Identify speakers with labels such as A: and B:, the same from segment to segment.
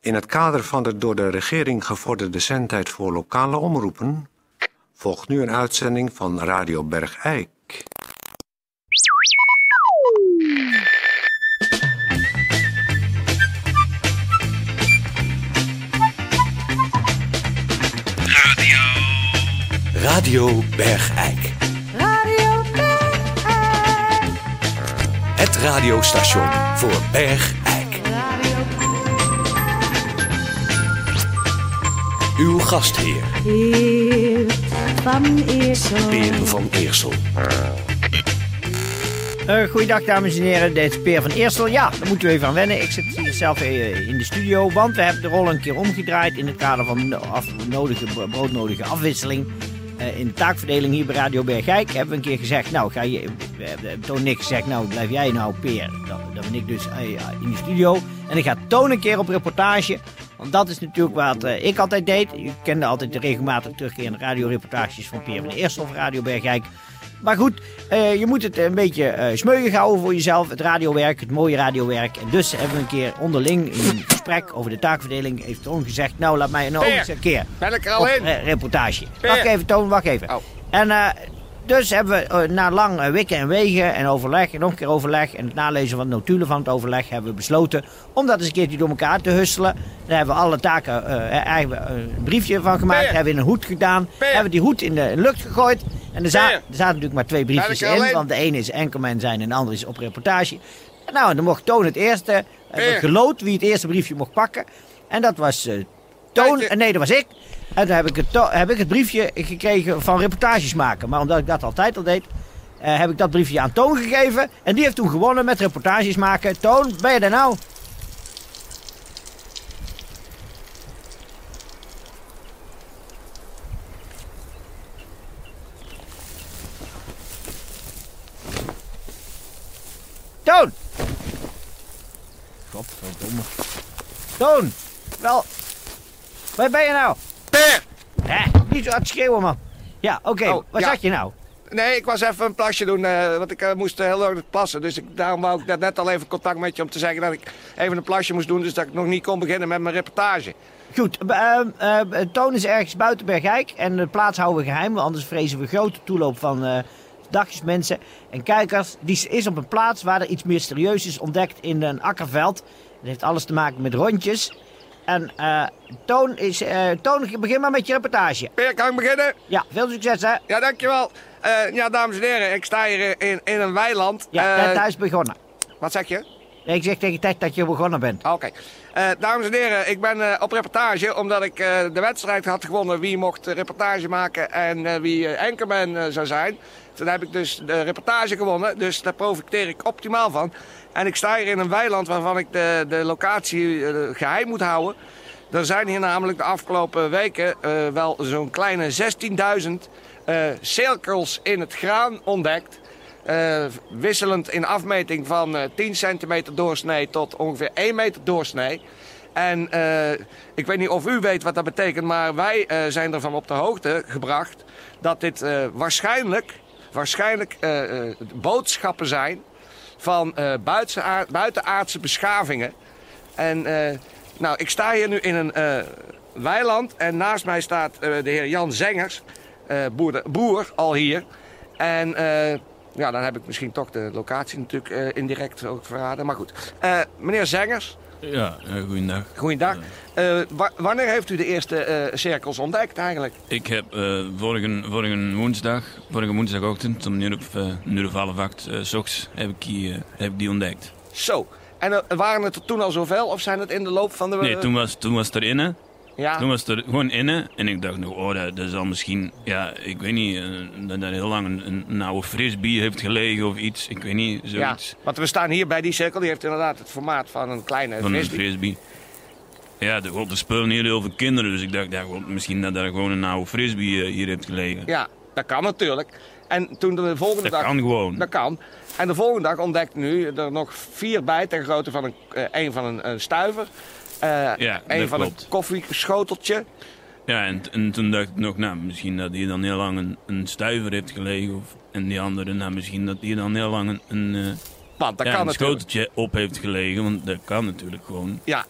A: In het kader van de door de regering gevorderde zendtijd voor lokale omroepen volgt nu een uitzending van Radio Bergijk.
B: Radio Bergijk.
C: Radio Bergijk.
B: Het radiostation voor Bergijk.
C: Radio
B: Uw gastheer,
C: Heer van Eersel.
B: Peer van Eersel.
D: Eh goeiedag dames en heren, dit is Peer van Eersel. Ja, daar moeten we even aan wennen. Ik zit hier zelf eh, in de studio, want we hebben de rol een keer omgedraaid in het kader van de af- nodige, broodnodige afwisseling. Eh, in de taakverdeling hier bij Radio Bergijk hebben we een keer gezegd, nou ga je, we hebben Toon en ik gezegd, nou blijf jij nou Peer. Dan, dan ben ik dus eh, ja, in de studio en dan gaat Toon een keer op reportage. Want dat is natuurlijk wat eh, ik altijd deed. Ik kende altijd de regelmatig terugkerende radioreportages van Peer van Eersel of Radio Bergijk. Maar goed, eh, je moet het een beetje eh smeuïg houden voor jezelf. Het radiowerk, het mooie radiowerk. En dus hebben we een keer onderling in een gesprek over de taakverdeling. Heeft Toon gezegd, nou laat mij nou ook
E: Peer.
D: eens een keer
E: Ben ik er
D: op
E: al in?
D: re- reportage.
E: Peer.
D: Wacht even Toon, wacht even.
E: Oh.
D: En eh, dus hebben we eh, na lang eh, wikken en wegen en overleg en nog een keer overleg... en het nalezen van de notulen van het overleg hebben we besloten... om dat eens een keertje door elkaar te husselen. Daar hebben we alle taken eh, eigenlijk eh, een briefje van gemaakt.
E: Peer.
D: Hebben we in een hoed gedaan.
E: Peer.
D: Hebben we die hoed in de lucht gegooid. En er, za-
E: Peer.
D: er zaten natuurlijk maar twee briefjes
E: Ben ik er
D: in.
E: alleen?
D: Want de ene is enkelman zijn en de andere is op reportage. Nou, en dan mocht Toon het eerste... eh,
E: Peer.
D: geloot wie het eerste briefje mocht pakken. En dat was eh, Toon.
E: Kijk, eh.
D: eh, Nee, dat was ik. En toen heb ik, het to- heb ik het briefje gekregen van reportages maken. Maar omdat ik dat altijd al deed, eh, heb ik dat briefje aan Toon gegeven. En die heeft toen gewonnen met reportages maken. Toon, ben je daar nou? Toon! Godverdomme. Toon! Wel. Waar ben je nou?
E: Per!
D: Hè? Niet zo aan het schreeuwen, man. Ja, oké.
E: Oh,
D: Waar
E: ja.
D: zat je nou?
E: Nee, ik was even een plasje doen, eh, want ik eh, moest eh, heel lang plassen. Dus ik, daarom wou ik net, net al even contact met je om te zeggen dat ik even een plasje moest doen. Dus dat ik nog niet kon beginnen met mijn reportage.
D: Goed, b- ehm, ehm, Toon is ergens buiten Bergijk. En de plaats houden we geheim, want anders vrezen we grote toeloop van eh dagjesmensen en kijkers. Die is op een plaats waar er iets mysterieus is ontdekt in een akkerveld. Dat heeft alles te maken met rondjes. En eh, Toon is... eh, Toon, begin maar met je reportage.
E: Per, kan ik beginnen?
D: Ja, veel succes, hè?
E: Ja, dankjewel. Eh ja, dames en heren, ik sta hier eh, in, in een weiland.
D: Ja,
E: Eh,
D: net thuis begonnen.
E: Wat zeg je?
D: Nee, ik zeg tegen Ted dat je begonnen bent.
E: Ah, Oké. Eh, dames en heren, ik ben eh, op reportage omdat ik eh, de wedstrijd had gewonnen wie mocht eh, reportage maken en eh, wie eh anchorman eh, zou zijn. Toen heb ik dus de reportage gewonnen, dus daar profiteer ik optimaal van. En ik sta hier in een weiland waarvan ik de, de locatie eh, geheim moet houden. Er zijn hier namelijk de afgelopen weken eh, wel zo'n kleine 16.000 eh, cirkels in het graan ontdekt. Eh, wisselend in afmeting van eh, 10 centimeter doorsnee tot ongeveer 1 meter doorsnee. En eh, ik weet niet of u weet wat dat betekent, maar wij eh, zijn ervan op de hoogte gebracht dat dit eh, waarschijnlijk, waarschijnlijk eh, eh, boodschappen zijn van eh, buitenaa- buitenaardse beschavingen. En eh, nou, ik sta hier nu in een eh, weiland en naast mij staat eh, de heer Jan Zengers, eh, boer, de- boer al hier. En eh, ja, dan heb ik misschien toch de locatie natuurlijk eh, indirect ook verraden. Maar goed, Eh, meneer Zengers,
F: Ja, eh, goeiedag.
E: goeiedag. Eh, wa- wanneer heeft u de eerste eh, cirkels ontdekt eigenlijk?
F: Ik heb eh vorige, vorige woensdag, vorige woensdagochtend, om een uur op, eh, een uur of half acht, eh, s ochtends, heb ik, die, eh, heb ik die ontdekt.
E: Zo. En eh, waren het er toen al zoveel of zijn het in de loop van de...
F: Nee, toen was, toen was het er inne.
E: Ja,
F: Toen was het er gewoon inne. En ik dacht nog, oh, dat, dat zal misschien, ja, ik weet niet, eh, dat daar heel lang een, een, een oude frisbee heeft gelegen of iets. Ik weet niet,
E: ja,
F: zoiets
E: want we staan hier bij die cirkel. Die heeft inderdaad het formaat van een kleine
F: van een
E: frisbee.
F: frisbee. Ja, er, er spelen hier heel veel kinderen, dus ik dacht, ja, god, misschien dat daar gewoon een oude frisbee eh, hier heeft gelegen.
E: Ja, dat kan natuurlijk. En toen de volgende
F: Dat
E: dag...
F: kan gewoon.
E: Dat kan. En de volgende dag ontdekt nu er nog vier bij ten grootte van een, eh, een van een, een stuiver. eh
F: Ja,
E: een
F: dat
E: van
F: klopt.
E: een koffieschoteltje.
F: Ja, en, t- en toen dacht ik nog, nou, misschien dat hij dan heel lang een, een stuiver heeft gelegen. Of, en die andere, nou, misschien dat hij dan heel lang een, een, eh,
E: Want dat
F: ja,
E: kan
F: een
E: natuurlijk.
F: schoteltje op heeft gelegen. Want dat kan natuurlijk gewoon.
E: Ja.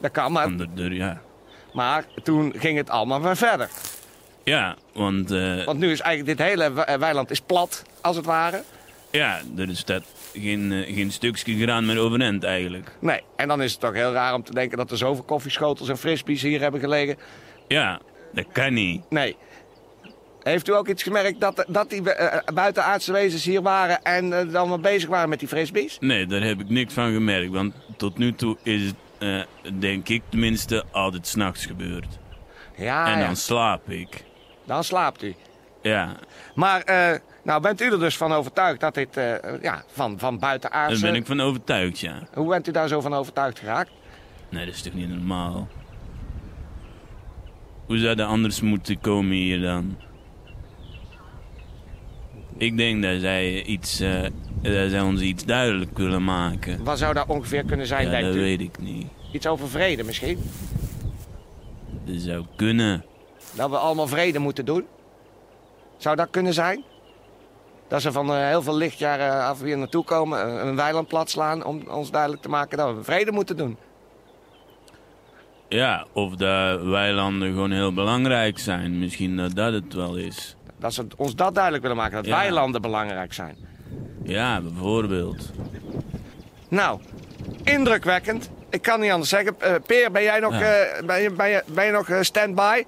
E: Dat kan, maar,
F: Onder de, ja.
E: maar toen ging het allemaal weer verder.
F: ja, want eh,
E: Want nu is eigenlijk dit hele we- eh, weiland is plat, als het ware.
F: ja, er is dat geen, eh, geen stukje graan meer overeind eigenlijk.
E: Nee, en dan is het toch heel raar om te denken dat er zoveel koffieschotels en frisbees hier hebben gelegen.
F: Ja, dat kan niet.
E: Nee. Heeft u ook iets gemerkt dat, dat die eh, buitenaardse wezens hier waren en eh, dan wel bezig waren met die frisbees?
F: Nee, daar heb ik niks van gemerkt, want tot nu toe is het, eh, denk ik tenminste, altijd s'nachts gebeurd.
E: Ja,
F: en
E: Ah, ja.
F: dan slaap ik.
E: dan slaapt u.
F: Ja,
E: Maar eh, nou bent u er dus van overtuigd dat dit eh, ja, van, van
F: daar
E: buitenaardse...
F: ben ik van overtuigd, ja.
E: Hoe bent u daar zo van overtuigd geraakt?
F: Nee, dat is toch niet normaal? Hoe zou dat anders moeten komen hier dan? Ik denk dat zij, iets, eh, dat zij ons iets duidelijk willen maken.
E: Wat zou daar ongeveer kunnen zijn,
F: Ja,
E: denkt
F: dat
E: u?
F: weet ik niet.
E: Iets over vrede misschien?
F: Dat zou kunnen.
E: Dat we allemaal vrede moeten doen? Zou dat kunnen zijn? Dat ze van eh, heel veel lichtjaren af hier naartoe komen, eh, een weiland plat slaan... om ons duidelijk te maken dat we vrede moeten doen.
F: Ja, of dat weilanden gewoon heel belangrijk zijn. Misschien dat dat het wel is.
E: Dat ze ons dat duidelijk willen maken, dat
F: Ja.
E: weilanden belangrijk zijn.
F: Ja, bijvoorbeeld.
E: Nou, indrukwekkend. Ik kan niet anders zeggen. Eh, Peer, ben jij nog,
F: Ja.
E: eh, ben je, ben je, ben je nog eh, stand-by?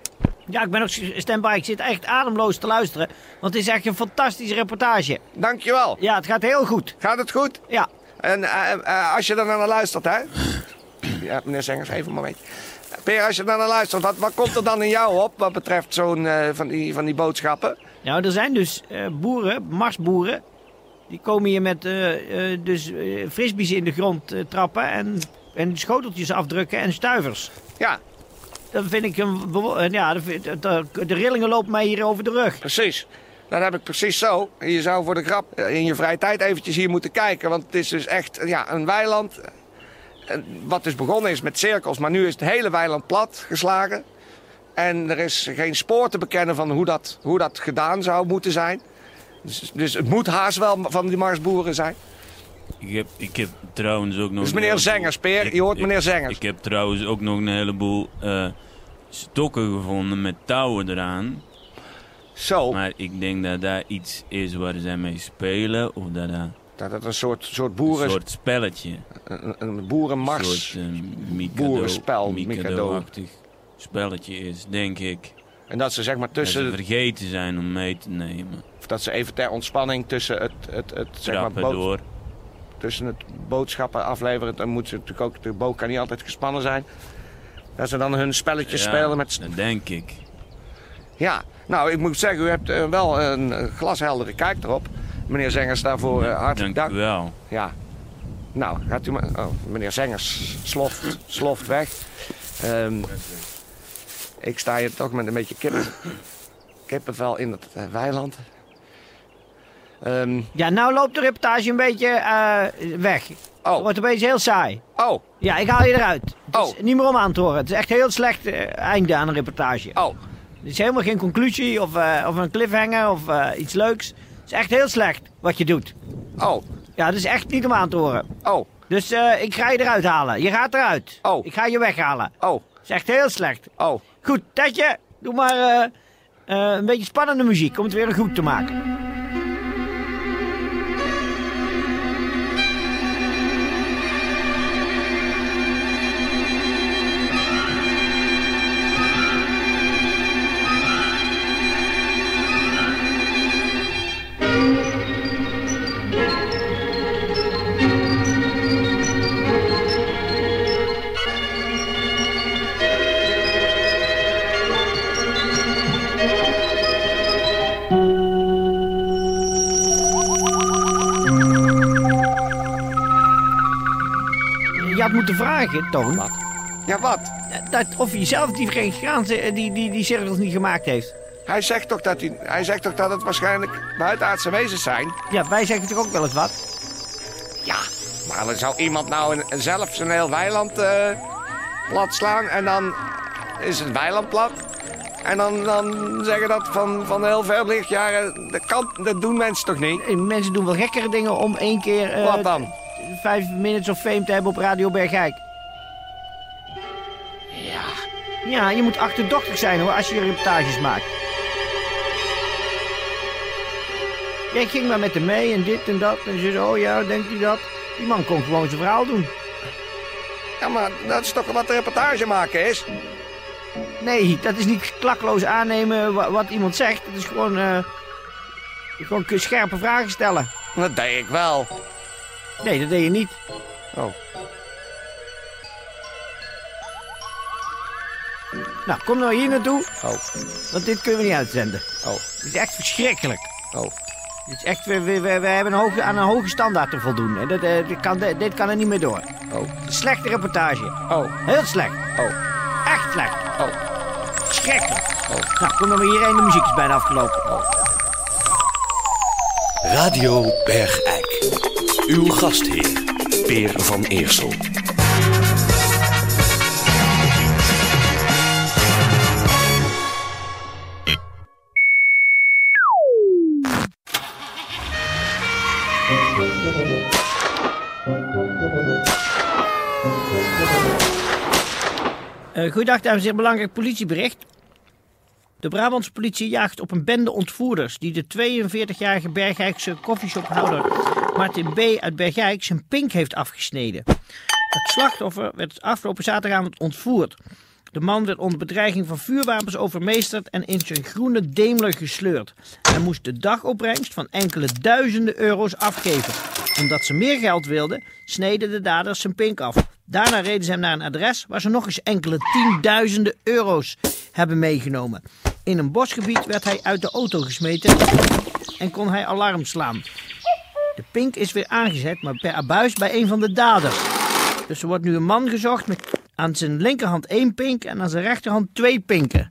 D: Ja, ik ben ook standby. Ik zit echt ademloos te luisteren. Want het is echt een fantastische reportage.
E: Dankjewel.
D: Ja, het gaat heel goed.
E: Gaat het goed?
D: Ja.
E: En eh, eh, als je er dan naar luistert, hè? Ja, meneer Zengers, even een momentje. Peer, als je er naar luistert, wat, wat komt er dan in jou op wat betreft zo'n eh, van, die, van die boodschappen?
D: Nou, er zijn dus eh, boeren, marsboeren. Die komen hier met eh, eh, dus, eh, frisbees in de grond eh, trappen en, en schoteltjes afdrukken en stuivers.
E: Ja,
D: Dat vind ik een. bewo- eh, Ja, dat vind- dat- dat- de rillingen lopen mij hier over de rug.
E: precies. Dat heb ik precies zo. Je zou voor de grap eh, in je vrije tijd eventjes hier moeten kijken. Want het is dus echt eh, ja, een weiland. eh, Wat dus begonnen is met cirkels, maar nu is het hele weiland plat geslagen. En er is geen spoor te bekennen van hoe dat, hoe dat gedaan zou moeten zijn. Dus, dus het moet haast wel van die marsboeren zijn.
F: Ik heb, ik heb trouwens ook nog...
E: Dus
F: een
E: meneer
F: heleboel-
E: Zengers, Peer,
F: Ik-
E: je hoort
F: ik-
E: meneer Zengers.
F: Ik heb trouwens ook nog een heleboel eh, stokken gevonden met touwen eraan.
E: Zo,
F: Maar ik denk dat daar iets is waar zij mee spelen. Of dat daar
E: dat het een soort, soort
F: een
E: boeren,
F: soort spelletje.
E: een, een
F: Een
E: boerenmars.
F: soort eh, Mikado,
E: boerenspel, Mikado.
F: Mikado-achtig spelletje is, denk ik.
E: En dat ze zeg maar tussen,
F: Dat eh, ze vergeten zijn om mee te nemen.
E: dat ze even ter ontspanning tussen het, het, het, zeg maar,
F: Trappen
E: bood-
F: door.
E: tussen het boodschappen afleveren, dan moeten ze natuurlijk ook, de boot kan niet altijd gespannen zijn. Dat ze dan hun spelletjes
F: Ja,
E: spelen met...
F: Dat denk ik.
E: Ja, nou ik moet zeggen, u hebt eh, wel een eh, glasheldere kijk erop. Meneer Zengers, daarvoor eh, hartelijk
F: Dank
E: dank.
F: u wel.
E: Ja. Nou, gaat u maar. Oh, meneer Zengers sloft, sloft weg. Ehm, ik sta hier toch met een beetje kippen, kippenvel in het eh, weiland. Ehm,
D: Ja, nou loopt de reportage een beetje eh, weg. Het
E: oh,
D: wordt opeens heel saai.
E: oh,
D: Ja, ik haal je eruit. Het is
E: Oh.
D: niet meer om aan te horen. Het is echt een heel slecht eh, einde aan een reportage.
E: oh.
D: Er is helemaal geen conclusie of, eh, of een cliffhanger of eh, iets leuks. Het is echt heel slecht wat je doet.
E: Oh,
D: Ja, het is echt niet om aan te horen.
E: oh,
D: Dus eh, ik ga je eruit halen. Je gaat eruit.
E: Oh.
D: Ik ga je weghalen.
E: oh,
D: Het is echt heel slecht.
E: oh.
D: Goed, Tetje, doe maar eh, eh, een beetje spannende muziek om het weer goed te maken. Je had moeten vragen, Toon,
E: Ja, wat?
D: dat of hij zelf die Verenigde Staten, eh, die, die, die cirkels niet gemaakt heeft.
E: Hij zegt toch dat, hij, hij zegt toch dat het waarschijnlijk buitenaardse wezens zijn?
D: Ja, wij zeggen toch ook wel eens wat?
E: Ja, maar dan zou iemand nou een- een, zelf zijn heel weiland eh, plat slaan en dan is het weiland plat. En dan, dan zeggen dat van, van heel veel lichtjaren, dat, kan, dat doen mensen toch niet?
D: Eh, Mensen doen wel gekkere dingen om één keer... eh,
E: Wat dan?
D: Vijf minutes of fame te hebben op Radio Bergijk.
E: Ja,
D: Ja, je moet achterdochtig zijn hoor, als je reportages maakt. Jij ging maar met hem mee en dit en dat. En ze zei, oh ja, denkt u dat? Die man kon gewoon zijn verhaal doen.
E: ja maar dat is toch wat de reportage maken is?
D: Nee, dat is niet klakloos aannemen wa- wat iemand zegt. Dat is gewoon, eh, gewoon k- scherpe vragen stellen.
E: Dat deed ik wel.
D: Nee, dat deed je niet.
E: Oh.
D: Nou, kom nou hier naartoe,
E: Oh,
D: want dit kunnen we niet uitzenden.
E: oh,
D: Het is echt verschrikkelijk.
E: oh.
D: Het is echt, we, we, we we hebben een hoge, aan een hoge standaard te voldoen. En dat, eh, dit, kan, dit kan er niet meer door.
E: Oh.
D: Slechte reportage.
E: Oh,
D: Heel slecht.
E: oh,
D: Echt slecht.
E: oh.
D: Verschrikkelijk.
E: Oh.
D: Nou, kom dan maar hierheen. De muziek is bijna afgelopen.
B: Radio Bergijk. Uw gastheer, Peer van Eersel.
D: Eh goeiedag, dames en heren. Belangrijk politiebericht. De Brabantse politie jaagt op een bende ontvoerders die de 42-jarige Bergijkse koffieshophouder Martin B. uit Bergijk zijn pink heeft afgesneden. Het slachtoffer werd afgelopen zaterdagavond ontvoerd. De man werd onder bedreiging van vuurwapens overmeesterd en in zijn groene Daimler gesleurd. Hij moest de dagopbrengst van enkele duizenden euro's afgeven. Omdat ze meer geld wilden, sneden de daders zijn pink af. Daarna reden ze hem naar een adres waar ze nog eens enkele tienduizenden euro's hebben meegenomen. In een bosgebied werd hij uit de auto gesmeten en kon hij alarm slaan. De pink is weer aangezet, maar per abuis bij een van de daders. Dus er wordt nu een man gezocht met aan zijn linkerhand één pink en aan zijn rechterhand twee pinken.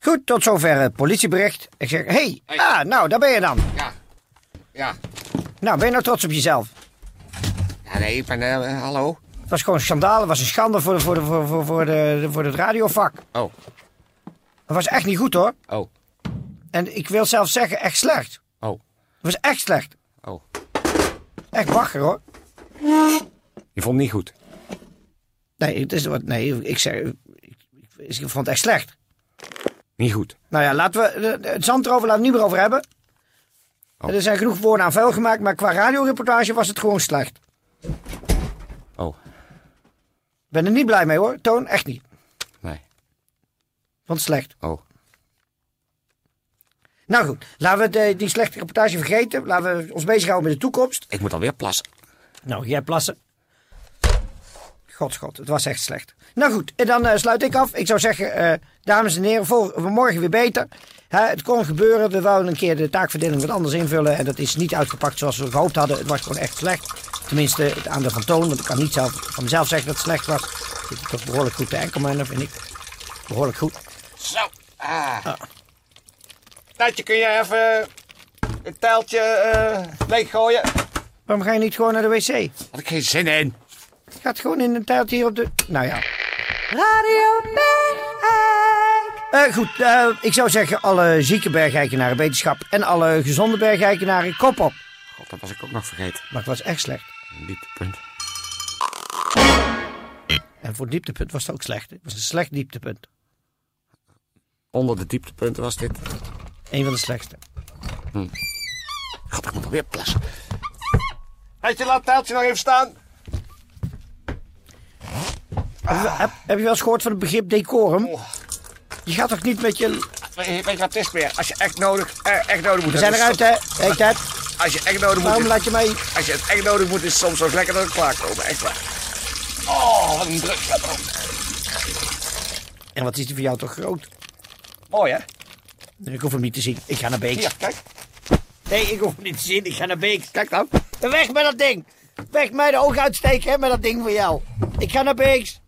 D: Goed, tot zover het politiebericht. Ik zeg, hey, ah, nou, daar ben je dan.
E: Ja, ja.
D: Nou, ben je nou trots op jezelf?
E: Ja, nee, ik ben... eh, hallo?
D: Het was gewoon schandaal, het was een schande voor, de, voor, de, voor, voor, voor, de, voor het radiovak.
E: Oh,
D: Het was echt niet goed hoor.
E: oh,
D: En ik wil zelfs zeggen, echt slecht.
E: oh,
D: Het was echt slecht.
E: oh.
D: Echt bagger hoor.
E: Je vond het niet goed?
D: Nee, het is wat, nee ik, zeg, ik, ik- ik vond het echt slecht.
E: Niet goed.
D: Nou ja, laten we eh, eh, het zand erover laten we het niet meer over hebben.
E: Oh.
D: Er zijn genoeg woorden aan vuil gemaakt, maar qua radioreportage was het gewoon slecht.
E: Oh,
D: Ik ben er niet blij mee hoor, Toon, echt niet.
E: nee.
D: Vond het slecht.
E: Oh.
D: Nou goed, laten we de- die slechte reportage vergeten. Laten we ons bezighouden met de toekomst.
E: Ik moet alweer plassen.
D: Nou, jij plassen. God, god, het was echt slecht. Nou goed, en dan eh, sluit ik af. Ik zou zeggen, eh, dames en heren, vol- we morgen weer beter. Hè, het kon gebeuren, we wouden een keer de taakverdeling wat anders invullen. En dat is niet uitgepakt zoals we gehoopt hadden. Het was gewoon echt slecht. Tenminste, het aandeel van toon, want ik kan niet zelf, van mezelf zeggen dat het slecht was. Ik zit toch behoorlijk goed te enkelmannen, vind ik. Behoorlijk goed.
E: Zo. Ah. Tijdje, kun jij even het tijltje eh, leeggooien?
D: Waarom ga je niet gewoon naar de wc?
E: Had ik geen zin in.
D: Gaat gewoon in een tijdje hier op de... Nou ja.
C: Radio Bergijk.
D: Eh, goed, eh, ik zou zeggen alle zieke bergeikenaren wetenschap en alle gezonde bergeikenaren kop op.
E: God, dat was ik ook nog vergeten.
D: Maar het was echt slecht.
E: Een dieptepunt.
D: En voor het dieptepunt was het ook slecht. Het was een slecht dieptepunt.
E: Onder de dieptepunten was dit.
D: Eén van de slechtste.
E: God, ik moet alweer plassen. Tijdje, laat het tijltje nog even staan.
D: Heb, heb je wel eens gehoord van het begrip decorum?
E: Oh.
D: Je gaat toch niet met je...
E: Weet je wat het is meer? Als je echt nodig, eh, echt nodig moet
D: We zijn
E: is
D: eruit,
E: soms-
D: hè? Hey, Ted,
E: Als je echt nodig moet,
D: waarom
E: is-
D: laat je mij...
E: als je het echt nodig moet, is het soms zo lekker dat het klaarkomen. Echt waar. Oh, wat een druk. staat erop.
D: En wat is die voor jou toch groot?
E: Mooi, hè?
D: Ik hoef hem niet te zien. Ik ga naar Beek.
E: Hier, kijk.
D: Nee, ik hoef hem niet te zien. Ik ga naar Beek.
E: Kijk nou. dan.
D: Weg met dat ding. Weg mij de ogen uitsteken hè, met dat ding van jou. Ik ga naar Beeks.